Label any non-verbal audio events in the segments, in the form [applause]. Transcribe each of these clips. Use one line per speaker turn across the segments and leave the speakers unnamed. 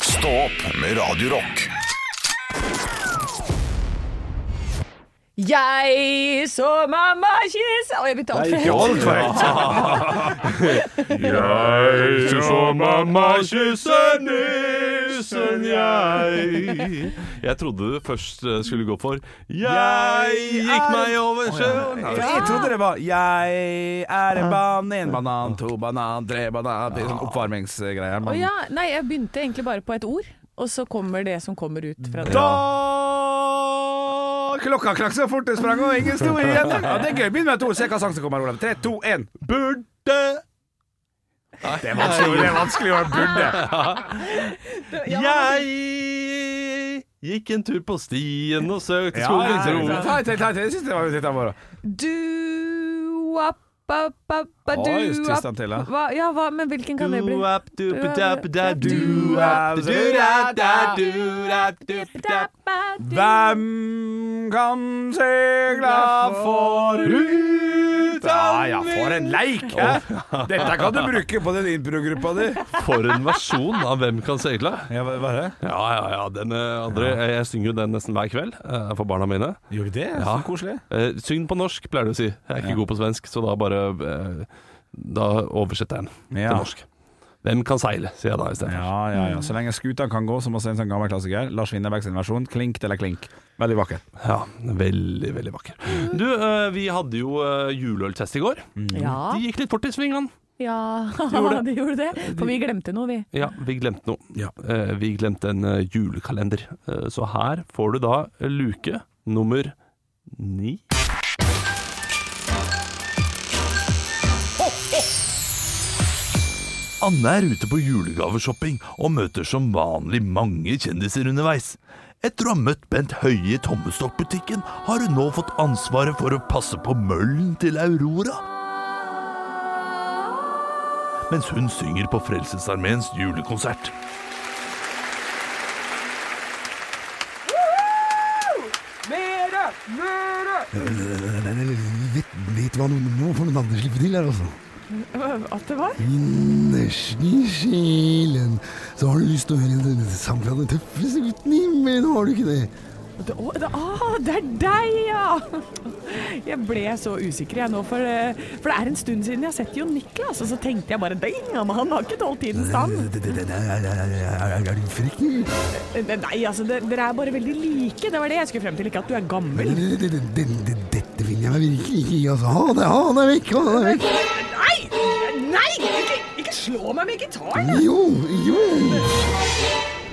Stå opp med Radio Rock.
Jeg så mamma kysse Og jeg begynte alt for høyt.
altfor Jeg så mamma kysse nissen, jeg. Jeg trodde du først eh, skulle gå for Jeg gikk meg over sjøen.
For jeg trodde det var 'jeg er en banan, en banan, to banan, tre banan' Det er sånn oppvarmingsgreier.
Å
men-
ja, nei, jeg begynte egentlig bare på et ord, og så kommer det som kommer ut fra det.
Da Klokka knakk så fort det sprang, og ingen sto [laughs] igjen. Ja, det er gøy. Begynn med et ord, se hva sang som kommer. Olav. Tre, to, én.
Burde
Det er vanskelig, det er vanskelig å burde.
Jeg gikk en tur på stien og søkte
Ja, ja,
skogens
ja.
ro.
Ta, ta, ta, ta. Jeg syns det var litt av moro.
Du appa, pappa,
Å,
du
just
app-
Tristan Tilla.
Hva, ja, hva, men hvilken kan det bli?
Duap, dupe, dape, da,
Duap,
duap,
Altså,
du-da, da, duap, dupe, dap.
Hvem kan seile forut Ja, ja, for en leik! hæ? Dette kan du bruke på den improgruppa di.
For en versjon av Hvem kan seile?
Ja, hva er det?
Ja, ja, ja. Den, eh, André, jeg, jeg synger jo den nesten hver kveld eh, for barna mine.
Gjør du det?
Ja.
koselig.
Eh, syng på norsk, pleier du å si. Jeg er ikke god på svensk, så da bare eh, Da oversetter jeg den
Ja.
til norsk. Hvem kan seile, sier jeg da istedenfor.
Ja, ja, ja. Så lenge skuta kan gå, så må vi se en sånn gammel klassiker. Lars Winneberg sin versjon. Klink eller klink. Veldig vakker.
Ja. veldig, veldig vakker. Du, eh, vi hadde jo eh, juleøltest i går.
Ja,
De gikk litt fort i svingene.
ja [laughs]
Gjorde
de gjorde det. For vi glemte noe, vi.
Ja, vi glemte noe. Eh, vi glemte en eh, julekalender. Eh, så her får du da luke nummer ni. Anne er ute på julegaveshopping og møter som vanlig mange kjendiser underveis. Etter å ha møtt Bent Høie i Tommestokkbutikken, har hun nå fått ansvaret for å passe på møllen til Aurora mens hun synger på Frelsesarmeens julekonsert.
Vet, vet hva noen nå får noen andre slippe til her, altså.
At det var?
Innerst i sjelen så har du lyst til å høre en sang fra den tøffeste gutten i himmelen, har du ikke det?
Det, å, det, ah, det er deg, ja! Jeg ble så usikker jeg nå, for, eh, for det er en stund siden jeg har sett Jon Niklas, og så tenkte jeg bare Ding, men han har ikke tålt tidens tann.
Det- det- det- det- Er er- er- er du frekk, du?
Nei, altså, det, dere er bare veldig like. Det var det jeg skulle frem til, ikke at du er gammel.
Det- det- det- det- det- Dette finner jeg meg virkelig ikke i, altså. Ha det, ha det vekk, ha det vekk.
Nei! Nei! Ikke, ikke slå meg med gitaren!
Jo, jo.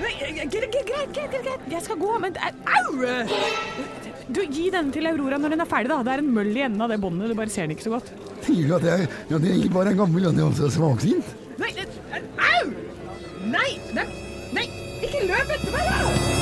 Nei, eh, Greit, greit, greit, greit, greit. Jeg skal gå, men Au! Du, Gi denne til Aurora når den er ferdig. da. Det er en møll i enden av det båndet. Du bare ser den ikke så godt.
Sier du at jeg, at jeg ikke bare er gammel, at jeg også er svaksynt?
Nei, det, au! Nei, nei, nei, ikke løp etter meg! da!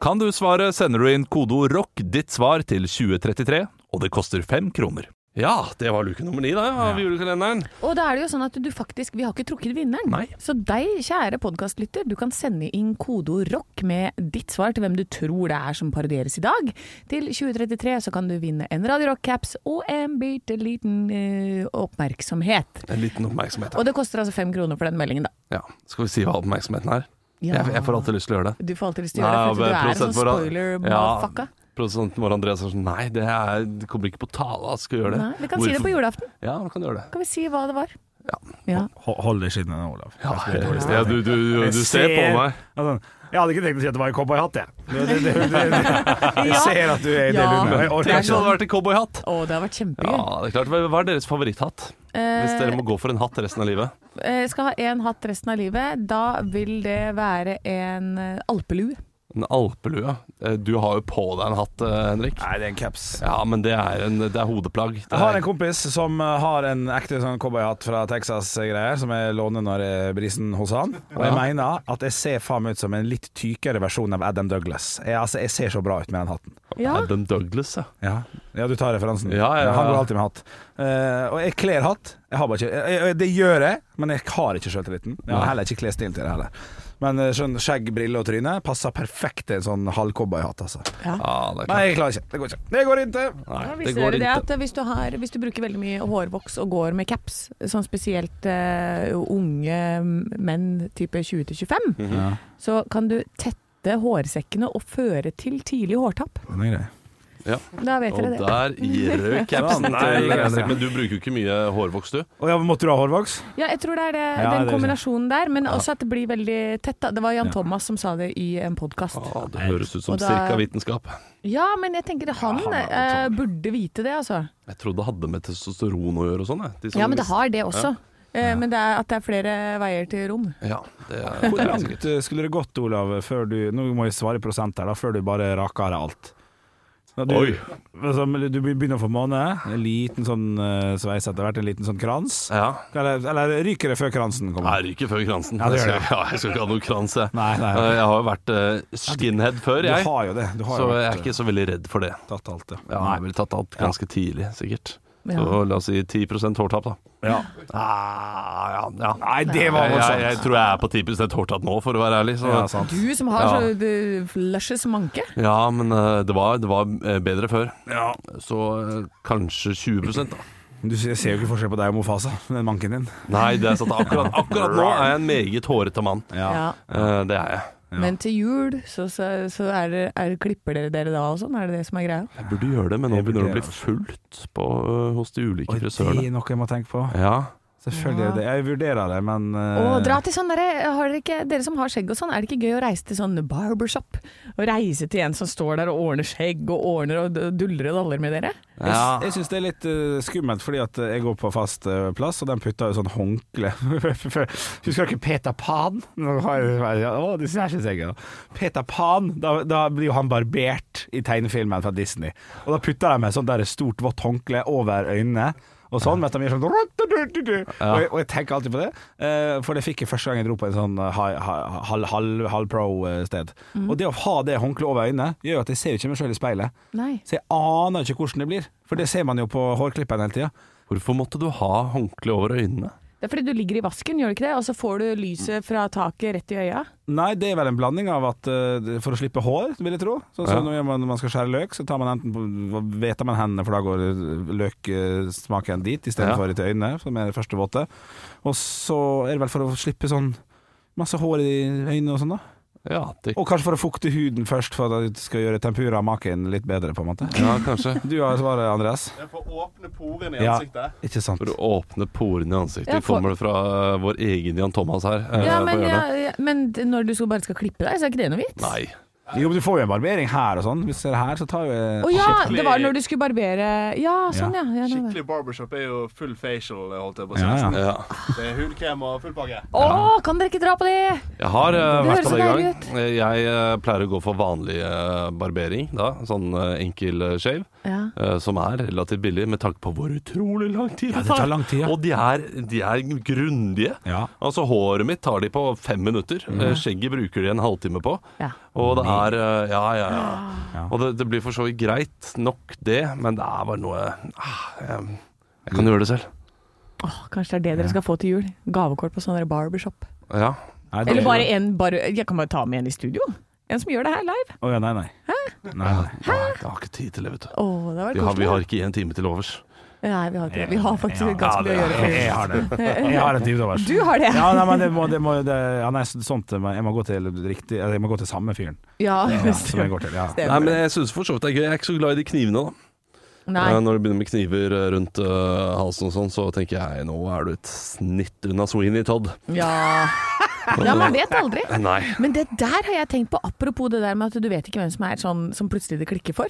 Kan du svare, sender du inn kodeord ROCK ditt svar til 2033, og det koster fem kroner. Ja, det var luke nummer ni da, av julekalenderen.
Og da er det jo sånn at du faktisk, vi har ikke trukket vinneren.
Nei.
Så deg, kjære podkastlytter, du kan sende inn kodeord rock med ditt svar til hvem du tror det er som parodieres i dag. Til 2033 så kan du vinne en Radio Rock-caps og en bitte liten eh, oppmerksomhet.
En liten oppmerksomhet.
Og det koster altså fem kroner for den meldingen, da.
Ja, Skal vi si hva oppmerksomheten er?
Ja.
Jeg, jeg får alltid lyst til å gjøre det.
Du får alltid lyst til å gjøre det, for du er
Nei,
en sånn
produsent vår-
spoiler-motherfucka.
Ja, produsenten vår Andreas er sånn Nei, det, er, det kommer ikke på tale at skal gjøre det.
Nei, vi kan si det på julaften.
Ja, vi kan gjøre det.
Kan vi si hva det var?
Ja. [laughs]
ja.
Hold deg i skinnet nå, Olav.
Ja, du, du, du, du ser på meg.
Altså, jeg hadde ikke tenkt å si at det var en cowboyhatt, jeg. Det, det, det, det,
[laughs]
jeg
Ja.
ser at du er i det
Ja.
lundet. Jeg
Tenk
orker
hvis det hadde
ikke.
vært en cowboyhatt.
Å, det har vært kjempegøy.
Ja, det er klart. Hva hva er deres favoritthatt? Hvis dere må gå for en hatt resten av livet.
Eh, skal ha én hatt resten av livet, da vil det være en eh, alpelue.
En alpelue. Eh, Du har jo på deg en hatt, eh, Henrik.
Nei, det er en caps.
Ja, men det er, en, det er hodeplagg. Det
Jeg har
er,
en kompis som eh, har en ekte sånn cowboyhatt fra Texas-greier, som jeg låner når jeg brisen hos han. Og jeg mener at jeg ser faen meg ut som en litt tykere versjon av Adam Douglas. Jeg, altså, jeg ser så bra ut med den hatten.
Ja.
Adam Douglas, ja.
Ja. ja, du tar referansen.
Ja, ja, ja.
Han går alltid med hatt. Eh, og jeg kler hatt. Jeg har bare ikke, jeg, jeg, det gjør jeg, men jeg har ikke sjøltilliten. Jeg har heller ikke klesstil til det heller. Men eh, skjønn, skjegg, briller og tryne passer perfekt til en sånn halvcowboyhatt. Altså.
Ja, det er
Nei,
klart.
jeg klarer ikke. Det går ikke. Det går ikke.
Da
Nei, det
viser
går
dere det
ikke.
at hvis du, har, hvis du bruker veldig mye hårvoks og går med caps, sånn spesielt eh, unge menn type 20-25,
Mhm.
så kan du tette hårsekkene og føre til tidlig hårtapp.
Den er grei.
Da vet
Og
dere det.
der røk
[laughs]
capsen
Nei,
til
det er
Christer.
det.
Men du bruker jo ikke mye hårvoks, du.
Å ja, måtte du ha hårvoks?
[laughs]
Ja, jeg tror det er det,
Ja,
den
det er-
kombinasjonen der, men også at det blir veldig tett. Da. Det var Jan Thomas som sa det i en podkast.
Ja, det høres ut som
Og da-
cirka vitenskap.
Ja, men jeg tenker han eh, burde vite det, altså.
Jeg trodde det hadde med testosteron å gjøre og sånn. jeg. De som-
Ja, men det har det også. Eh, Men det er at det er flere veier til rom.
Ja, det er
Hvor langt eh, skulle det gått, Olav, før du Nå må jeg svare i prosent her, da, før du bare raker av alt? Da Du,
[laughs] Oi.
Altså, du begynner å få måne. En liten sånn eh, sveis etter hvert, en liten sånn krans.
Ja.
Eller, eller ryker det før kransen kommer?
Jeg ryker før kransen.
Ja, det
jeg,
gjør
skal, ja, jeg skal ikke ha noen krans, jeg.
Nei, nei.
Eh, Jeg har jo vært eh, skinhead før,
Du
jeg.
har jo det. Du har
Så
jo
jeg er
vært,
ikke så veldig redd for det.
eh, tatt alt, ja.
Ja, jeg har vel tatt alt ganske tidlig, sikkert.
Ja.
Så la oss si 10 hårtap, da. Ah, ja, ja.
Nei, det var
jeg,
voldsomt.
jeg, jeg tror jeg er på 10 hårtap nå, for å være ærlig. Så.
Ja,
Ja,
sant.
Du som har
Ja.
så eh, du, lushes manke.
men eh, det var, det var eh, bedre før.
Ja.
Så eh, kanskje 20 da.
Du ser ser jo ikke forskjell på deg og Mofasa, den manken din.
Nei, det er sant. Akkurat, akkurat nå er jeg en meget hårete mann.
Ja.
Eh, det er jeg.
Men til jul så, så, så er det, er, klipper dere dere da og sånn? Er det det som er greia?
Jeg burde gjøre det, men nå
Jeg
begynner det altså. å bli
burde
fullt på, eh, hos de ulike
Oi, det
frisørene.
er noe jeg må tenke på.
Ja.
Selvfølgelig er det det. Jeg vurderer det, men
Å,
eh,
dra til sånn derre har dere, ikke, dere som har skjegg og sånn, er det ikke gøy å reise til sånn barbershop? Og reise til en som står der og ordner skjegg og ordner og d- duller og daller med dere?
Jeg, jeg syns det er litt eh, skummelt, fordi at eh, jeg går på fast eh, plass, og den putter jo sånn håndkle [laughs] Husker dere Peter Pan? Nå har jeg- Å, det synes jeg ikke. Peter Pan, da, da blir jo han barbert i tegnefilmen fra Disney. Og da putter de med sånn der stort vått håndkle over øynene. Og sånn, mens de gjør sånn Og, jeg, og jeg tenker alltid på det, eh, for det fikk jeg første gang jeg dro på en sånn eh, hi- hi- halv halv- halv pro-sted. Og det å ha det håndkleet over øynene, gjør at jeg ser jo ikke meg sjøl i speilet.
Nei.
Så jeg aner ikke hvordan det blir, for det ser man jo på hårklipperen hele tida.
Hvorfor måtte du ha håndkle over øynene?
Det er fordi du ligger i vasken, gjør du ikke det? Og så får du lyset fra taket rett i øya.
Nei, det er vel en blanding av at eh, for å slippe hår, vil jeg tro. Sånn som
Ja.
når man, man skal skjære løk, så tar man enten på, veter man hendene, for da går eh, løksmaken dit
Ja.
istedenfor for til øynene, som er det første våte. Og så er det vel for å slippe sånn masse hår i øynene og sånn, da.
Ja, det,
Og kanskje for å fukte huden først, for at det skal gjøre tempura maken litt bedre, på en måte.
ja kanskje.
Du har svaret, Andreas.
For å åpne porene
i Ja. ansiktet. Ikke sant.
For å åpne porene i ansiktet
Ja, for-
kommer det fra eh, vår egen Jan Thomas her. eh,
Ja,
på
men, ja,
hjørnet.
ja, men d- når du skal bare skal klippe deg, så er ikke det noe vits?
Nei.
Jo, men du får jo en barbering her og sånn. Hvis du ser her, så tar jo eh, jeg
Å ja, det var når du skulle barbere Ja, sånn ja. ja, det var det.
Skikkelig barbershop er jo full facial, holdt jeg på å si.
Ja, ja.
nesten.
Ja.
Det er hudkrem og full pakke.
Å, kan dere ikke dra på det?
Jeg har eh,
Det
vært
høres
av det i
deilig
gang. Eh, Jeg eh, pleier å gå for vanlig eh, barbering, da. Sånn eh, enkel eh, shave.
Ja.
eh, som er relativt billig, med tanke på hvor utrolig lang tid
det tar lang tid, ja.
Og de er, de er grundige.
Ja.
Altså, håret mitt tar de på fem minutter.
Mhm.
Eh, Skjegget bruker de en halvtime på.
Ja.
Og det er eh, Ja, ja, ja. Og det, det blir for så vidt greit nok, det, men det er bare noe ah, Jeg, jeg kan gjøre det selv.
Åh, kanskje det er det dere skal få til jul? Gavekort på sånn der barbershop.
Ja.
Nei, det-
Eller bare en bare, Jeg kan bare ta med en i studio. En som gjør det her live.
Å ja, nei, nei. Nei, nei.
Nei, jeg har ikke tid til det, vet du.
Å, det var
Vi har,
koselig.
vi har ikke én time til overs.
Nei, vi har ikke det. Vi har faktisk
Ja,
ganske mye å gjøre.
Jeg, jeg har det. Jeg har et liv overs.
Du har det!
Ja, nei, men det må, det må det, ja, nei, så- sånt må- Jeg må gå til riktig Jeg må gå til samme fyren
Ja,
ja, som jeg
Ah, stemmer.
går til. Ja.
Nei, men jeg syns for så vidt det er gøy. Jeg er ikke så glad i de knivene, da.
Nei.
Eh, Når du begynner med kniver eh, rundt eh, halsen og sånn, så tenker jeg nå er du et snitt unna Sweeney Todd.
Ja. ja, man vet aldri.
Nei.
Men det der har jeg tenkt på, apropos det der med at du vet ikke hvem som er sånn som plutselig det klikker for.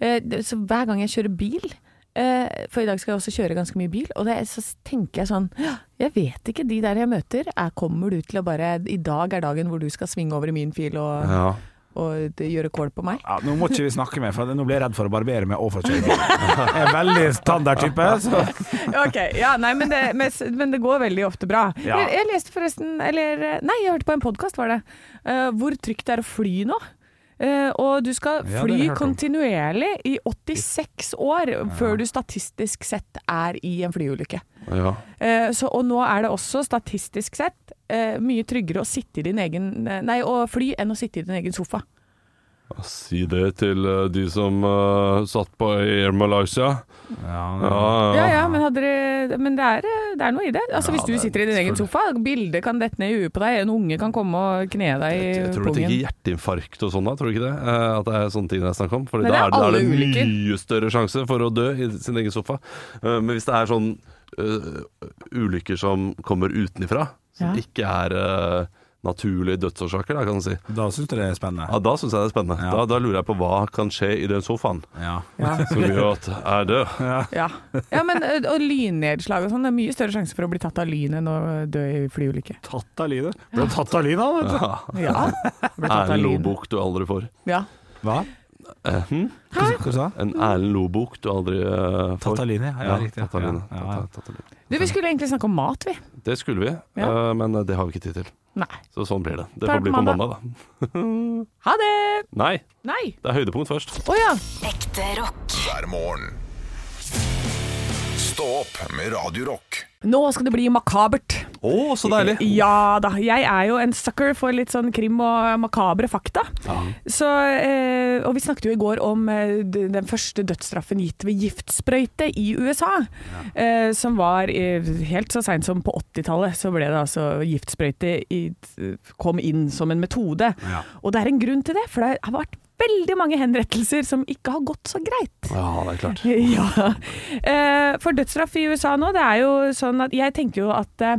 Eh, det- Så hver gang jeg kjører bil, eh, for i dag skal jeg også kjøre ganske mye bil, og det, er- så tenker jeg sånn «Ja, Jeg vet ikke, de der jeg møter, er, kommer du til å bare I dag er dagen hvor du skal svinge over i min fil og,
Ja.
og d- gjøre kål på meg.
Ja, nå må ikke vi snakke mer, for nå blir jeg redd for å barbere meg og for å kjøre bil. Jeg er veldig standard type. Så.
Ok, ja, nei, men det, men s- men det går veldig ofte bra.
Ja.
Jeg, jeg leste forresten, eller eh, nei, jeg hørte på en podkast, var det, eh, hvor trygt det er å fly nå. Eh, og du skal
Ja, det har
fly
jeg hørt om.
kontinuerlig i 86 år før du statistisk sett er i en flyulykke.
Ja.
Eh, så, og nå er det også statistisk sett eh, mye tryggere å sitte i din egen eh, Nei, å fly enn å sitte i din egen sofa.
Si det til eh, de som eh, satt på Air Malaysia.
Ja,
Ja,
Ja
ja.
ja, men, hadde dere, men det, er, eh, det er noe i det. Altså Hvis du sitter i din egen sofa, bildet kan dette ned i huet på deg, en unge kan komme og kne deg i
Jeg, jeg tror du tenker
pungen.
hjerteinfarkt og sånn da, tror du ikke det? Eh, at det er sånne ting det er snakk om? Fordi
Men
da
det er
er det, da er
alle
det
ulykker.
mye større sjanse for å dø i sin egen sofa. Eh, men hvis det er sånn eh, ulykker som kommer utenifra, som
Ja.
ikke er eh, naturlige dødsårsaker, da, kan du si,
Da syns du det er spennende.
ja, da syns jeg det er spennende.
Ja.
Da, da lurer jeg på hva kan skje i den sofaen
Ja.
som gjør at jeg er død.
Ja. ja, men eh, Og lynnedslag og sånn. Det er mye større sjanse for å bli tatt av lyn enn å dø i flyulykke.
Tatt av lynet. Ble du tatt av lynet, da, vet
Ja. [laughs]
Ja. Ble [laughs] tatt av
Erlend
lyn.
Lobok du aldri får.
Ja.
du. Hva?
Eh, hm?
Hva sa- hva sa du?
En Erlend Lobok du aldri eh,
Tatt
får.
av lynet, ja. ja, riktig.
tatt av lynet.
Ja,
Tatt
ja.
av- tatt av lynet.
Du, vi skulle egentlig snakke om mat, vi.
Det skulle vi,
Ja.
eh, men det har vi ikke tid til.
Nei.
Så sånn blir det. Det
Ta det
får bli
på
på
mandag.
mandag, da.
Ha det!
Nei,
Nei.
det er høydepunkt først.
Å ja.
Ekte rock.
hver morgen. Stå opp med Radio Rock.
Nå skal det bli makabert.
Å, så deilig!
Ja da. Jeg er jo en sucker for litt sånn krim og makabre fakta. Så, eh, og vi snakket jo i går om eh, d- den første dødsstraffen gitt ved giftsprøyte i USA. Eh, som var eh, helt så seint som på 80-tallet, så ble det altså giftsprøyte i, kom inn som en metode.
Ja.
Og det er en grunn til det, for det har vært veldig mange henrettelser som ikke har gått så greit.
Ja, det er klart.
[laughs] Ja. Eh, For dødsstraff i USA nå, det er jo sånn at jeg tenker jo at eh,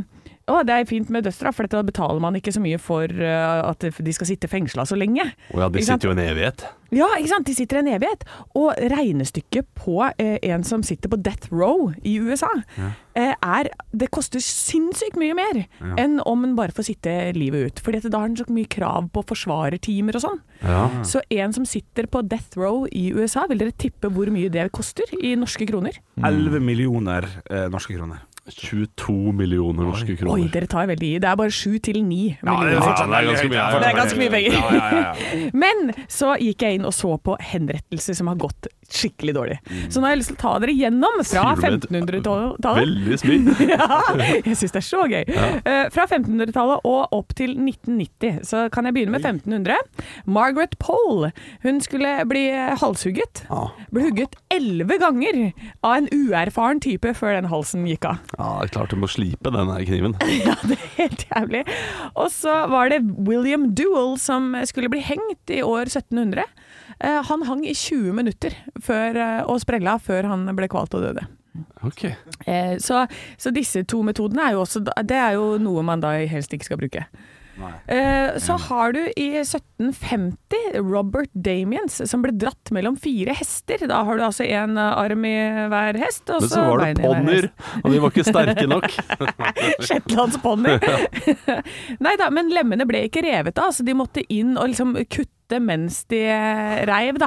å, det er fint med dødsstraff, for dette betaler man ikke så mye for eh, at de skal sitte fengsla så lenge.
Å ja, de
Ikke sant?
sitter jo en evighet.
Ja, ikke sant? De sitter i en evighet. Og regnestykket på eh, en som sitter på death row i USA, eh, er Det koster sinnssykt mye mer enn om en bare får sitte livet ut. For da har en så mye krav på forsvarertimer og sånn. Så en som sitter på death row i USA, vil dere tippe hvor mye det koster i norske kroner?
11 millioner eh, norske kroner.
22 millioner norske
Oi,
kroner.
dere tar veldig i. Det er bare sju til ni millioner.
det er ganske mye.
Det er ganske mye penger.
Ja, ja, ja, ja.
Men så gikk jeg inn og så på henrettelser som har gått skikkelig dårlig. Så nå har jeg lyst til å ta dere gjennom fra
Mm. Sier du med et
1500-tallet.
Veldig smidd.
[laughs] Ja, jeg syns det er så gøy. Eh, Fra 1500-tallet og opp til 1990. Så kan jeg begynne med 1500. Margaret Pole hun skulle bli halshugget. Ble hugget elleve ganger av en uerfaren type før den halsen gikk av.
Ja, det er klart du må slipe den her kniven.
[laughs] Ja, det er helt jævlig. Og så var det William Duell som skulle bli hengt i år 1700. Eh, Han hang i 20 minutter før, eh, og sprella før han ble kvalt og døde.
Ok.
Eh, Så, så disse to metodene er jo, også, det er jo noe man da helst ikke skal bruke. Eh, Så har du i 1750 Robert Damiens som ble dratt mellom fire hester. Da har du altså én arm i hver hest. Og
Men så var
bein
det
i hver hest.
ponnier, og de var ikke sterke nok.
[laughs] Shetlandsponni. [laughs] Nei da, men lemmene ble ikke revet av, så de måtte inn og liksom kutte mens de eh, reiv, da.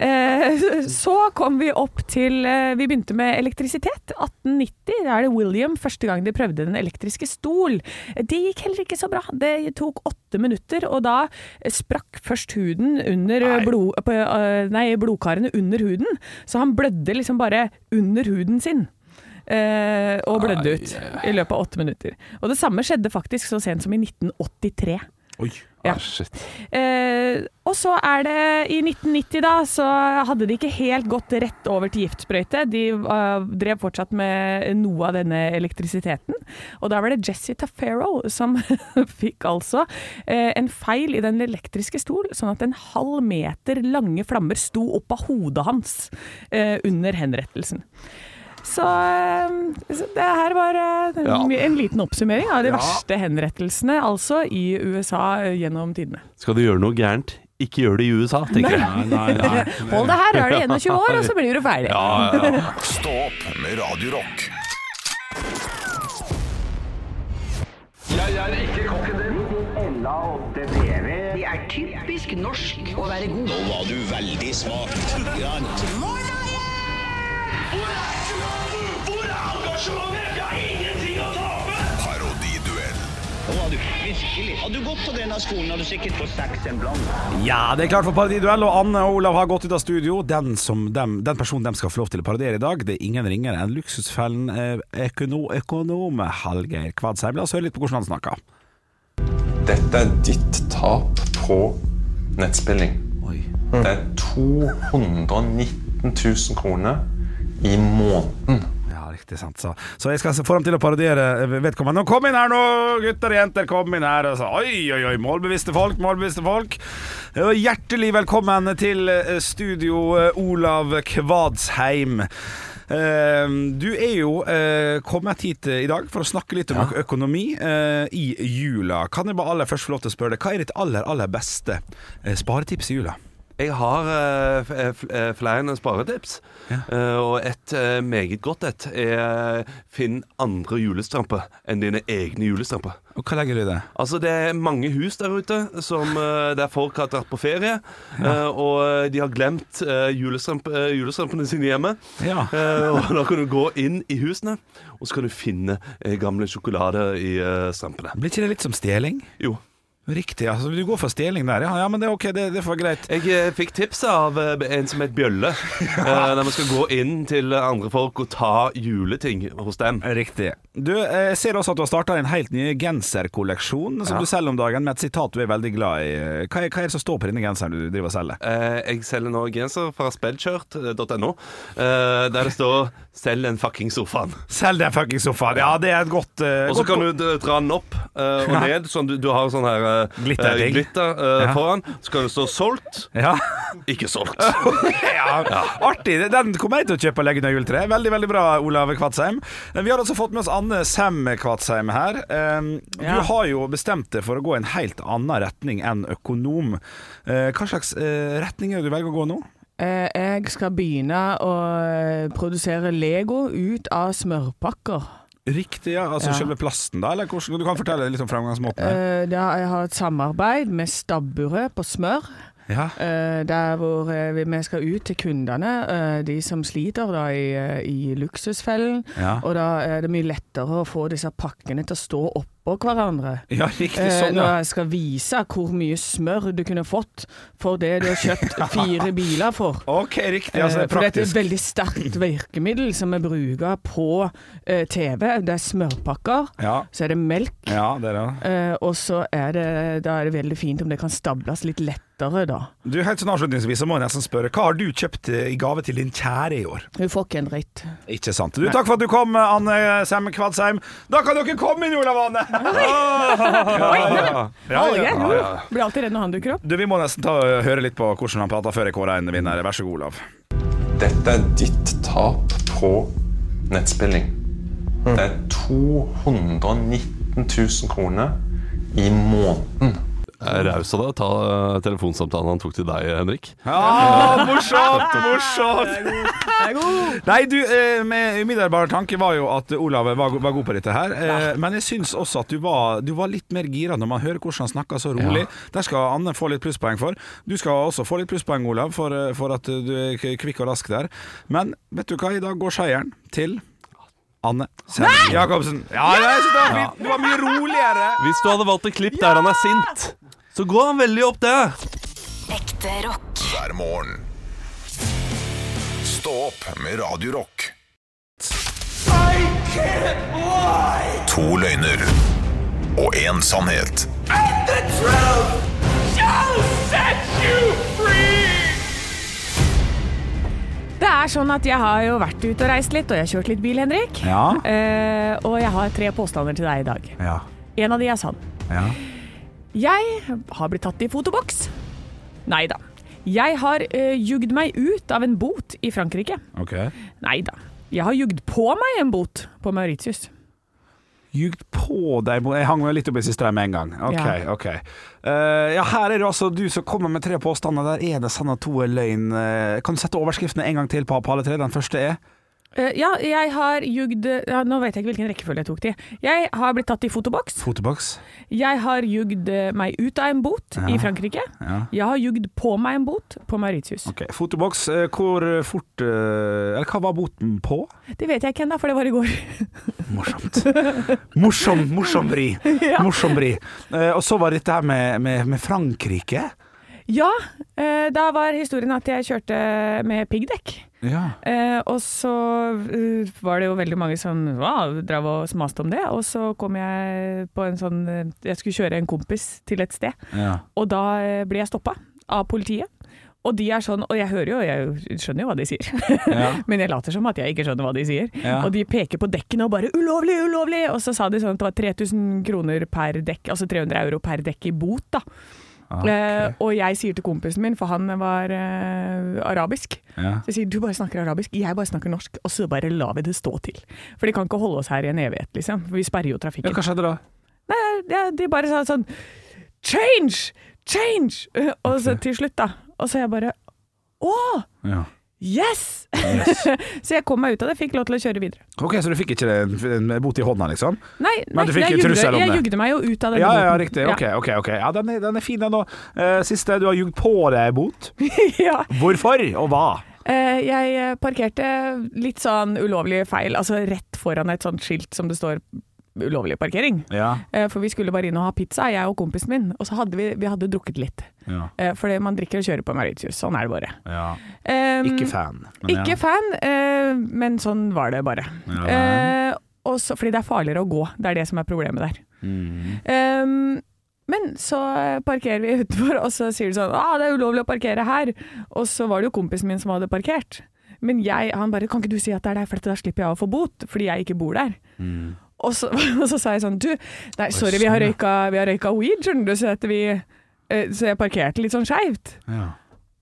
Eh, [laughs] Så kom vi opp til eh, Vi begynte med elektrisitet. 1890 da er det William første gang de prøvde den elektriske stol. Det gikk heller ikke så bra. Det tok åtte minutter, og da sprakk først huden under eh, blod, på, eh, Nei, blodkarene under huden. Så han blødde liksom bare under huden sin. Eh, og blødde ut i løpet av åtte minutter. Og det samme skjedde faktisk så sent som i 1983.
Oi.
Ja.
Ah, shit.
Eh, og så er det I 1990 da, så hadde de ikke helt gått rett over til giftsprøyte. De eh, drev fortsatt med noe av denne elektrisiteten. Og da var det Jesse Tafero som [laughs] fikk altså eh, en feil i den elektriske stol, sånn at en halv meter lange flammer sto opp av hodet hans eh, under henrettelsen. Så, eh, så det her var eh,
Ja.
en liten oppsummering av de verste henrettelsene altså i USA eh, gjennom tidene.
Skal du gjøre noe gærent, ikke gjør det i USA, tenker jeg.
Nei, nei, nei.
[laughs] Hold deg her,
[laughs]
er det 21 år, og så blir du ferdig.
Stå opp med Radio Rock.
Det E er typisk norsk å være god. Nå var du veldig smak.
Parodiduell.
Nå var du virkelig. Hadde du gått på denne skolen, hadde du sikkert fått seks en blant.
Ja, det er klart for parodiduell, og Anne og Olav har gått ut av studio. Den, som dem, den personen de skal få lov til å parodiere i dag, det er ingen ringere enn luksusfellen eh, økono, økonom Hallgeir Kvadsheim. La oss høre litt på hvordan han snakker.
Dette er ditt tap på nettspilling. Det er 219 000 kroner i måneden.
Ja, riktig sant. Så, så jeg skal få dem til å parodiere eh, vedkommende. Nå kom inn her nå, gutter og jenter, kom inn her. Og så, oi, oi, oi, målbevisste folk, målbevisste folk. Eh, Og hjertelig velkommen til eh, studio eh, Olav Kvadsheim. Eh, Du er jo eh, kommet hit eh, i dag for å snakke litt om øk- økonomi eh, i jula. Kan jeg bare aller først få lov til å spørre deg, hva er ditt aller, aller beste eh, sparetips i jula?
Jeg har eh, f- eh, fl- eh, flere sparetips, Eh, og et eh, meget godt et er eh, finn andre julestramper enn dine egne julestramper.
Og hva legger du i det?
Altså, det er mange hus der ute som, eh, der folk har dratt på ferie, eh, og de har glemt eh, julestramp, eh, julestrampene sine hjemme.
Ja.
[laughs] Eh, og da kan du gå inn i husene, og så kan du finne eh, gamle sjokolade i eh, strampene.
Blir ikke det litt som stjeling?
Jo.
Riktig, altså. Du går for stjeling der, ja. ja men det er ok, det, det får være greit.
Jeg eh, fikk tips av eh, en som het Bjølle. eh, Der man skal gå inn til andre folk og ta juleting hos dem.
Riktig. Du, eh, jeg ser også at du har starta en helt ny genserkolleksjon som du selger om dagen, med et sitat du er veldig glad i. Hva er, hva er det som står på denne genseren du driver og selger?
Eh, Jeg selger nå genser fra spellkjørt.no, eh, der det står 'selg den fucking sofaen'.
Selg den fuckings sofaen! Ja, det er et godt eh,
Og så
godt-
kan du d- dra den opp eh, og ned, sånn du, du har sånn her eh,
Glitterring.
eh, glitter eh,
Ja.
foran. Så kan det stå 'solgt',
ja.
ikke
[laughs]
solgt.
ja, [laughs] artig. Den kommer jeg til å kjøpe og legge under juletreet. Veldig veldig bra, Olav Kvadsheim. Vi har også fått med oss Anne Sem Kvadsheim her. Eh,
Ja.
Du har jo bestemt deg for å gå i en helt annen retning enn økonom. Eh, Hva slags eh, retning er det du velger å gå nå?
Eh, Jeg skal begynne å eh, produsere Lego ut av smørpakker.
Riktig, ja. Altså
Ja.
selve plasten, da? Eller hvordan, du kan fortelle litt liksom om framgangsmåten. her.
Eh, Da jeg har et samarbeid med stabburet på smør.
ja.
eh, Der hvor eh, vi vi skal ut til kundene, eh, de som sliter da i, eh, i luksusfellen.
Ja.
Og da er det mye lettere å få disse pakkene til å stå oppå hverandre.
ja, riktig.
Eh,
Sånn,
når
ja.
jeg skal vise hvor mye smør du kunne fått for det du har
[laughs]
kjøpt fire biler for.
Ok, riktig. Altså, det
Eh,
er
for dette er et
praktisk.
veldig sterkt virkemiddel som vi bruker på eh, TV. Det er smørpakker,
Ja,
så er det melk,
ja det er det.
eh, og så er det, da er det veldig fint om det kan stables litt lettere, da.
Du, helt sånn avslutningsvis så må jeg nesten spørre, hva har du kjøpt eh, i gave til din kjære i år?
Hun får ikke en dritt.
Ikke sant. Du, takk for at du kom, eh, Anne Sem Kvadsheim. Da kan dere komme inn, Olav Anne! Ja, ja, ja.
ja. Blir alltid redd når han dukker opp.
Du, vi må nesten ta og høre litt på hvordan han prater før jeg kårer en vinner. Vær så god, Olav.
Dette er ditt tap på nettspilling. Det er 219 000 kroner i måneden.
Raus av deg å ta eh, telefonsamtalen han tok til deg, Henrik.
Ja, morsomt, morsomt! Nei, du, eh, med umiddelbar tanke var jo at Olav var, go- var god på dette her. Eh, men jeg syns også at du var, du var litt mer gira når man hører hvordan han snakker så rolig. Der skal Anne få litt plusspoeng for. Du skal også få litt plusspoeng, Olav, for, eh, for at du er k- kvikk og rask der. Men vet du hva, i dag går seieren til Anne Sem Jacobsen. Ja, ja, jeg synes det var fint. Du var mye roligere.
Hvis du hadde valgt et klipp der han er sint, så går han veldig opp der.
Ekte rock.
hver morgen. Stå opp med Radio Rock. To løgner og én sannhet.
Det er sånn at jeg har jo vært ute og reist litt, og jeg har kjørt litt bil, Henrik.
Ja.
Eh, og jeg har tre påstander til deg i dag.
Ja.
En av de er sann.
Ja.
Jeg har blitt tatt i fotoboks. Nei da. Jeg har eh, jugd meg ut av en bot i Frankrike.
Ok.
Nei da. Jeg har jugd på meg en bot på Mauritius.
Jugd på deg Jeg hang meg litt opp i siste der med en gang. Ok,
Ja.
ok. Eh, ja, her er det altså du som kommer med tre påstander. Der er det sann og to er løgn. Eh, kan du sette overskriftene en gang til på, på alle tre? Den første er
Eh, ja, jeg har jugd ja, Nå vet jeg ikke hvilken rekkefølge jeg tok de. Jeg har blitt tatt i fotoboks.
Fotoboks.
Jeg har jugd eh, meg ut av en bot
Ja.
i Frankrike.
Ja.
Jeg har jugd på meg en bot på Mauritius.
Ok, Fotoboks, eh, hvor fort eh, Eller hva var boten på?
Det vet jeg ikke ennå, for det var i går. [laughs]
Morsom, morsom [laughs] vri.
Ja.
Morsom vri. Eh, og så var det dette her med, med, med Frankrike.
Ja, eh, da var historien at jeg kjørte med piggdekk.
Ja.
Eh, og så eh, var det jo veldig mange som «Hva?» drev og maste om det, og så kom jeg på en sånn eh, Jeg skulle kjøre en kompis til et sted,
Ja.
og da eh, ble jeg stoppa av politiet. Og de er sånn, og jeg hører jo, jeg skjønner jo hva de sier, [laughs]
Ja.
men jeg later som at jeg ikke skjønner hva de sier.
Ja.
Og de peker på dekkene og bare 'ulovlig, ulovlig', og så sa de sånn at det var 3000 kroner per dekk, altså 300 euro per dekk i bot, da.
Ah,
Eh, og jeg sier til kompisen min, for han var eh, arabisk
Ja.
Så jeg sier du bare snakker arabisk, jeg bare snakker norsk, og så bare lar vi det stå til. For de kan ikke holde oss her i en evighet, liksom. For vi sperrer jo trafikken.
Hva skjedde da?
Nei, Eh, ja, de bare sa sånn Change! Change! Eh, Og så til slutt, da. Og så jeg bare Å!
Ja.
Yes! [laughs] så jeg kom meg ut av det, fikk lov til å kjøre videre.
Ok, Så du fikk ikke en, en bot i hånda, liksom?
Nei,
Men
nei,
du fikk
jeg,
en
jugde,
trussel om
jeg
det?
jugde meg jo ut av den
Ja, ja,
boten.
riktig. Ok, ok. ok Ja, Den er, den er fin, den òg. Eh, siste, du har jugd på deg en bot.
[laughs] ja.
Hvorfor, og hva?
Eh, Jeg eh, parkerte litt sånn ulovlig feil, altså rett foran et sånt skilt som det står ulovlig parkering.
Ja.
Eh, For vi skulle bare inn og ha pizza, jeg og kompisen min, og så hadde vi, vi hadde drukket litt.
Ja.
Eh, Fordi man drikker og kjører på Mauritius, sånn er det bare.
Ja.
Em,
Um, Ikke fan.
ikke fan, eh, men sånn var det bare.
Ja.
Eh, og så- fordi det er farligere å gå, det er det som er problemet der.
Mm,
Ehm, men så parkerer vi [laughs] utenfor, og så sier de sånn ah, 'Det er ulovlig å parkere her.' Og så var det jo kompisen min som hadde parkert. Men jeg, han bare 'Kan ikke du si at det er der, for da slipper jeg å få bot, fordi jeg ikke bor der'. Og så, [laughs] og så sa jeg sånn 'Du, nei, sorry, vi har røyka, vi har røyka weed, skjønner du, så, at vi, eh, så jeg parkerte litt sånn skeivt'.
Ja.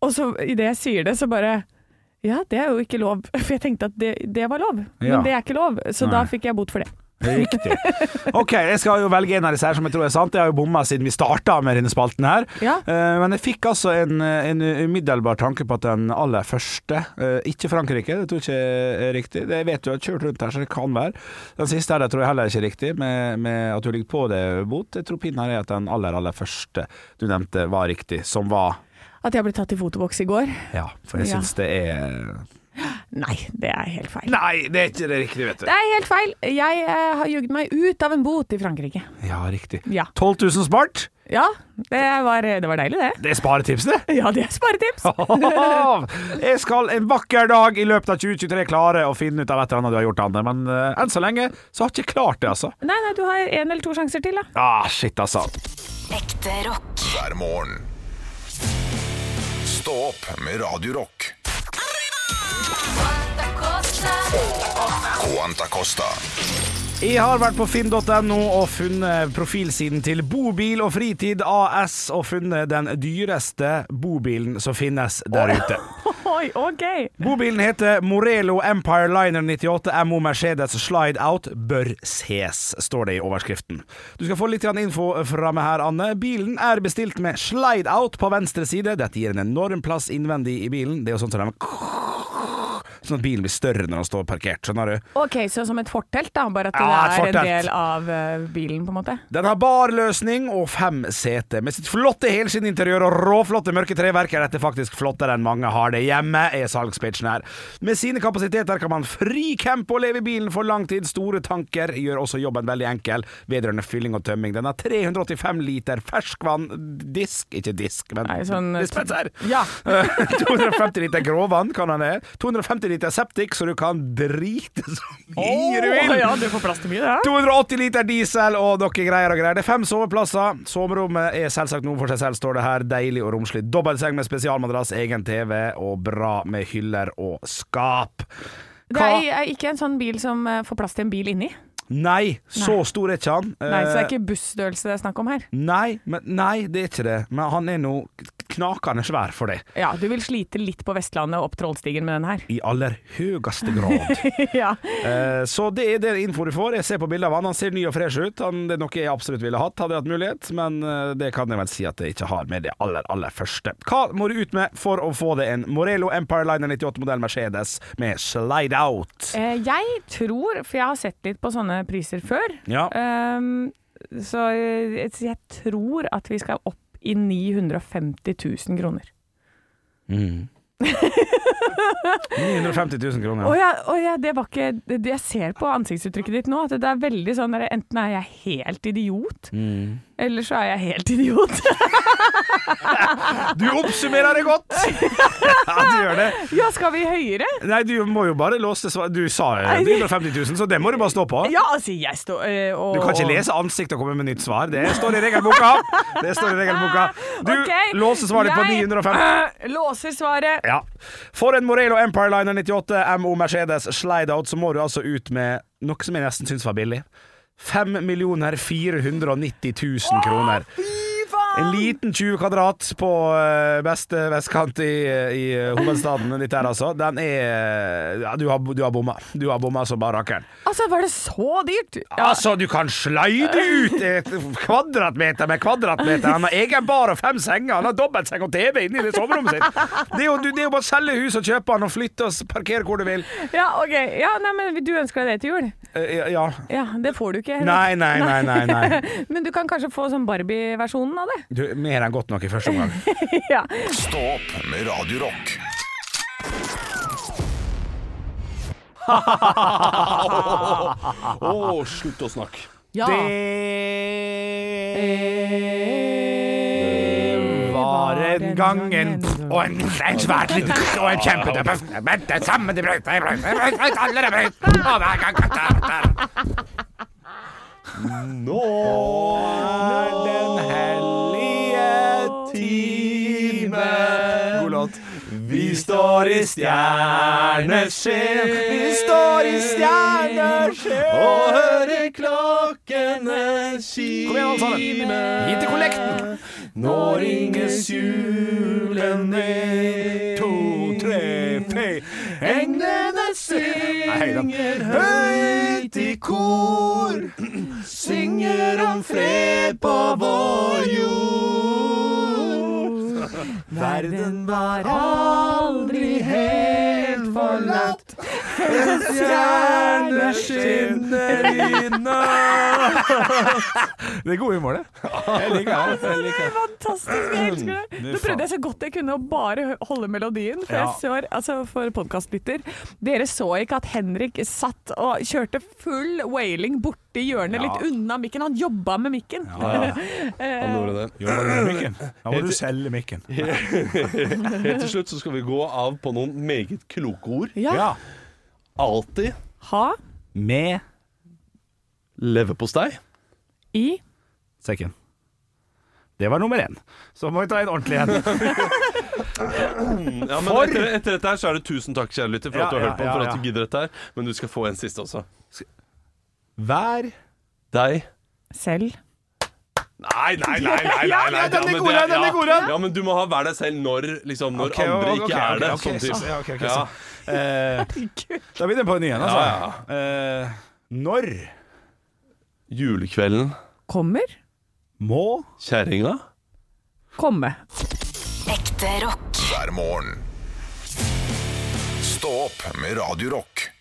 Og så idet jeg sier det, så bare Ja, det er jo ikke lov. [laughs] For jeg tenkte at det, det var lov,
Ja.
men det er ikke lov. Så da
Nei.
fikk jeg bot for det.
Riktig. Ok, jeg skal jo velge en av disse her som jeg tror er sant. Jeg har jo bomma siden vi starta med denne spalten her.
Ja.
Eh, men jeg fikk altså en, en umiddelbar tanke på at den aller første, eh, ikke Frankrike, det tror jeg ikke er riktig. Det vet du jeg har kjørt rundt her, så det kan være. Den siste her det tror jeg heller ikke er riktig, med, med at du ligger på det, Bot. Jeg tror pinnen her er at den aller, aller første du nevnte var riktig, som var
At jeg ble tatt i fotoboks i går?
Ja, for jeg
Ja.
syns det er
Nei, det er helt feil.
Nei, det er ikke det riktige, vet du.
Det er helt feil. Jeg eh, har jugd meg ut av en bot i Frankrike.
Ja, riktig.
Ja.
12 000 spart.
Ja, det var, det var deilig, det.
Det er sparetipsene.
Ja, det er [laughs] sparetips.
Jeg skal en vakker dag i løpet av 2023 klare å finne ut av et eller annet du har gjort, Anne. Men eh, enn så lenge så har jeg ikke klart det, altså.
Nei, nei, du har en eller to sjanser til, da.
Ah, shit, altså.
Ekte rock.
hver morgen. Stå opp med Radio Rock. Quanta Costa.
Jeg har vært på finn.no og funnet profilsiden til Bobil og Fritid AS, og funnet den dyreste bobilen som finnes der ute.
[laughs] Oi, OK.
Bobilen heter Morelo Empire Liner 98 MO Mercedes Slide Out bør ses, står det i overskriften. Du skal få litt grann info fra meg her, Anne. Bilen er bestilt med slide out på venstre side. Dette gir en enorm plass innvendig i bilen. Det er jo sånn som de Sånn at bilen blir større når den står parkert, skjønner du.
Ok, Så som et fortelt, da. Bare at det
Ja, et
er en
fortelt.
del av eh, bilen, på en måte.
Den har barløsning og fem seter. Med sitt flotte helskinninteriør og råflotte mørke treverk er dette faktisk flottere enn mange har det hjemme, er salgspitchen her. Med sine kapasiteter kan man fricampe og leve i bilen for lang tid. Store tanker gjør også jobben veldig enkel vedrørende fylling og tømming. Den har 385 liter ferskvann Disk, ikke disk, men
Nei, sånn-
dispenser. [laughs]
Ja.
Eh, 250 liter gråvann kan han ha. 250 liter septik, så du kan drite så mye du vil.
Å, ja, du får plass til mye, da.
280 liter diesel og noe greier og greier. Det er fem soveplasser. Soverommet er selvsagt noe for seg selv, står det her. Deilig og romslig. Dobbeltseng med spesialmadrass, egen TV og bra med hyller og skap.
Det
Hva?
er, er ikke en sånn bil som eh, får plass til en bil inni.
Nei, så stor er ikke han.
Nei, Så det
Eh,
er ikke busstørrelse det er snakk om her.
Nei, men, nei, det er ikke det. Men han er nå knakende svær for det.
Ja, du vil slite litt på Vestlandet og opp Trollstigen med den [laughs] her.
I aller høyeste grad.
ja.
Eh, Så det er den info du får. Jeg ser på bildet av han. Han ser ny og fresh ut. Han, det er noe jeg absolutt ville hatt, hadde jeg hatt mulighet, men eh, det kan jeg vel si at jeg ikke har med det aller, aller første. Hva må du ut med for å få deg en Morello Empire Liner 98-modell Mercedes med slide out?
Eh, jeg tror, for jeg har sett litt på sånne priser før,
Ja.
ehm, så jeg, jeg tror at vi skal opp i 950 000 kroner.
950 000 kroner.
Og, jeg, og jeg, det var ikke, det, jeg ser på ansiktsuttrykket ditt nå at det er veldig sånn der, Enten er jeg helt idiot,
Mm.
eller så er jeg helt [laughs] idiot.
Du oppsummerer det godt! [laughs] ja, du gjør det.
ja, skal vi høyere?
Nei, du må jo bare låse svar. Du sa eh, 950 000, så det må du bare stå på.
Ja, altså, jeg står eh, og
Du kan ikke
og-
lese ansikt og komme med nytt svar. Det står i regelboka! Det står i regelboka. Du
Ah, Ok,
låser svaret på
jeg,
950
øh, låser svaret.
Ja. For en Morello Empire Liner 98 MO Mercedes slideout, så må du altså ut med noe som jeg nesten syns var billig. 5 490 000 kroner. En liten 20 kvadrat på eh, beste vestkant i, i eh, hovedstaden ditt her, altså. Den er ja, Du har, du har bomma. Du har bomma som bare rakkeren.
Altså, var det så dyrt? Ja.
Altså, du kan sløyde ut et kvadratmeter med kvadratmeter. Han har egen bar og fem senger. Han har dobbeltseng og TV inne i det soverommet sitt. Det er jo, det er jo bare å selge hus og kjøpe han og flytte og parkere hvor du vil.
ja, ok. Ja, nei, men du ønsker deg det til jul?
Eh, ja.
Ja, det får du ikke. heller.
Nei, nei, nei, nei. nei.
[laughs] Men du kan kanskje få sånn Barbie-versjonen av det? [laughs]
Du, mer enn godt nok i første omgang.
ja.
Stå opp med Radio Rock.
slutt å snakke.
Ja.
Det var en gang en Og en, en svært liten Og en kjempedøpe Men det samme de brøt Jeg brøt Jeg brøt Alle de brøt Og hver gang der, der. Nå er den hellige time God låt Vi står i stjerneskinn Vi står i stjerneskinn Og hører klokkene kime Kom igjen alle sammen Hit til kollekten nå ringes julen ned. To, tre, fe. Englene synger høyt i kor. Synger om fred på vår jord. Verden var aldri helt forlatt. En stjerne skinner i natt. [laughs] Det er god humor, det. Jeg liker det. Jeg liker det.
Fantastisk, jeg elsker det.
[clears throat]
Nå prøvde jeg så godt jeg kunne å bare hø- holde melodien, for,
Ja.
jeg så, altså for podkastlytter. Dere så ikke at Henrik satt og kjørte full wailing borti hjørnet
Ja.
litt unna mikken. Han jobba med mikken.
Han gjorde det.
Ja, var det mikken? Ja, må du selge mikken.
Helt til slutt så skal vi gå av på noen meget kloke ord.
Ja.
Alltid
Ha
Med
leverpostei.
i
sekken. Det var nummer én. Så må vi ta en ordentlig en.
Ja, men
For-
etter, etter dette her så er det tusen takk, kjære lytter, for
Ja,
at du har
ja,
hørt på,
ja,
for
ja.
at du gidder dette her. Men du skal få en siste også.
Vær
Deg.
selv.
Nei, nei, nei, nei, nei,
Ja,
nei.
ja, den er
men
god,
det
den er
ja.
god, den.
Ja, men du må ha vær deg selv når, liksom, når
Ok,
andre
ok,
ikke
ok,
er det.
ok, ok,
sånn
så-
typ.
ja, ok, ok,
ja.
så. Eh, Da begynner vi på en ny en, altså. Eh, når
Julekvelden,
Kommer.
må
kjerringa.
Komme.
hver morgen. Stå opp med Radio Rock.